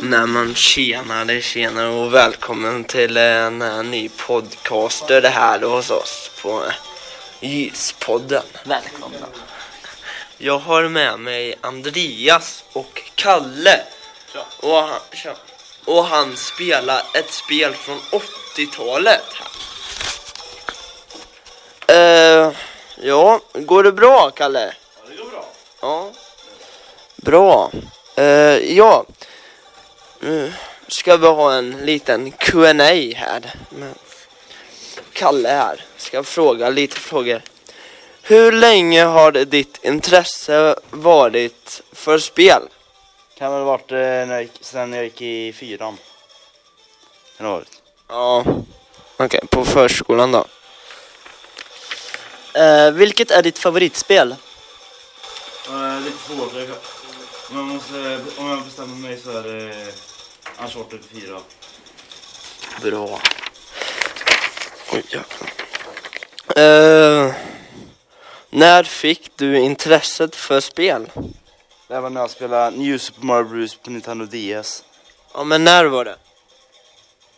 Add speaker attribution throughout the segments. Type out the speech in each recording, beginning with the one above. Speaker 1: Nej men tjenare, tjenare och välkommen till en eh, ny podcast det här hos oss på eh, Gyspodden.
Speaker 2: Välkomna.
Speaker 1: Jag har med mig Andreas och Kalle. Och han, tja. och han spelar ett spel från 80-talet. Uh, ja, går det bra Kalle? Ja, det går bra. Ja. Bra. Eh, ja, nu ska vi ha en liten Q&A här. med Kalle här ska fråga lite frågor. Hur länge har ditt intresse varit för spel?
Speaker 3: Kan väl ha varit eh, när jag gick, sen jag gick i fyran. Kan det ha varit.
Speaker 1: Ja, okej, på förskolan då. Eh, vilket är ditt favoritspel?
Speaker 3: lite svårt. Jag, man måste, om jag bestämmer mig så är det eh, Uncharted 4.
Speaker 1: Bra. Oj, jäklar. Eh, när fick du intresset för spel?
Speaker 3: Det här var när jag spelade New Super Mario Bros på Nintendo DS.
Speaker 1: Ja, men när var det?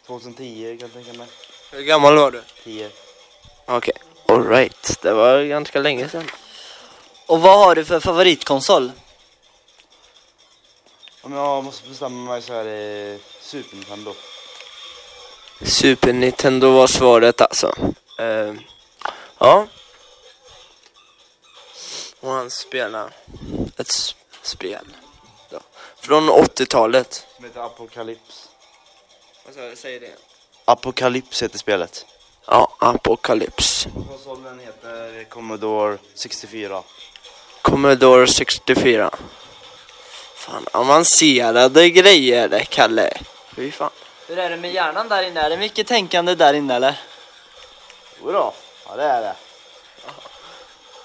Speaker 3: 2010 kan jag tänka mig.
Speaker 1: Hur gammal var du?
Speaker 3: 10.
Speaker 1: Okej, alright. Det var ganska länge sedan.
Speaker 2: Och vad har du för favoritkonsol?
Speaker 3: Om jag måste bestämma mig så är det Super Nintendo.
Speaker 1: Super Nintendo var svaret alltså. Eh, ja. Och han spelar ett s- spel. Då. Från 80-talet.
Speaker 3: Som heter Apocalypse.
Speaker 1: Vad sa du? Säg det.
Speaker 3: Apocalypse heter spelet.
Speaker 1: Ja, Apocalypse.
Speaker 3: Konsolen heter Commodore 64.
Speaker 1: Commodore 64. Fan, avancerade grejer det, Kalle. Fy fan.
Speaker 2: Hur är det med hjärnan där inne? Är det mycket tänkande där inne eller?
Speaker 3: Jodå, ja det är det.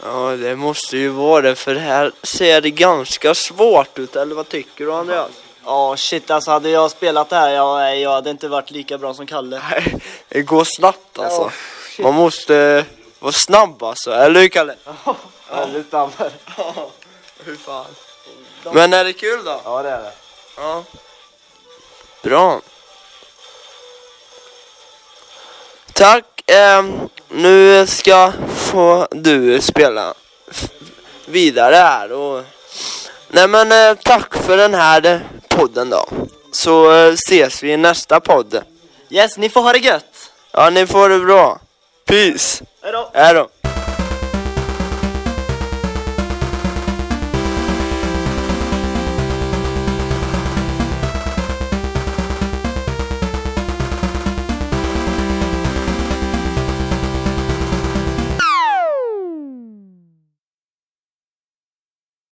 Speaker 1: Ja, det måste ju vara det, för här ser det ganska svårt ut. Eller vad tycker du, Andreas?
Speaker 2: Ja shit alltså hade jag spelat det här, jag, jag hade inte varit lika bra som Kalle.
Speaker 1: Nej, det går snabbt alltså.
Speaker 2: Ja,
Speaker 1: Man måste vara snabb alltså, eller hur Kalle?
Speaker 3: Väldigt snabb.
Speaker 1: Ja, hur fan. Men är det kul då?
Speaker 3: Ja det är det.
Speaker 1: Ja. Bra. Tack, ehm, nu ska få du spela f- vidare här och... Nej men eh, tack för den här eh, podden då. Så eh, ses vi i nästa podd.
Speaker 2: Yes, ni får ha det gött!
Speaker 1: Ja, ni får det bra. Peace!
Speaker 2: Hejdå!
Speaker 1: Hej då!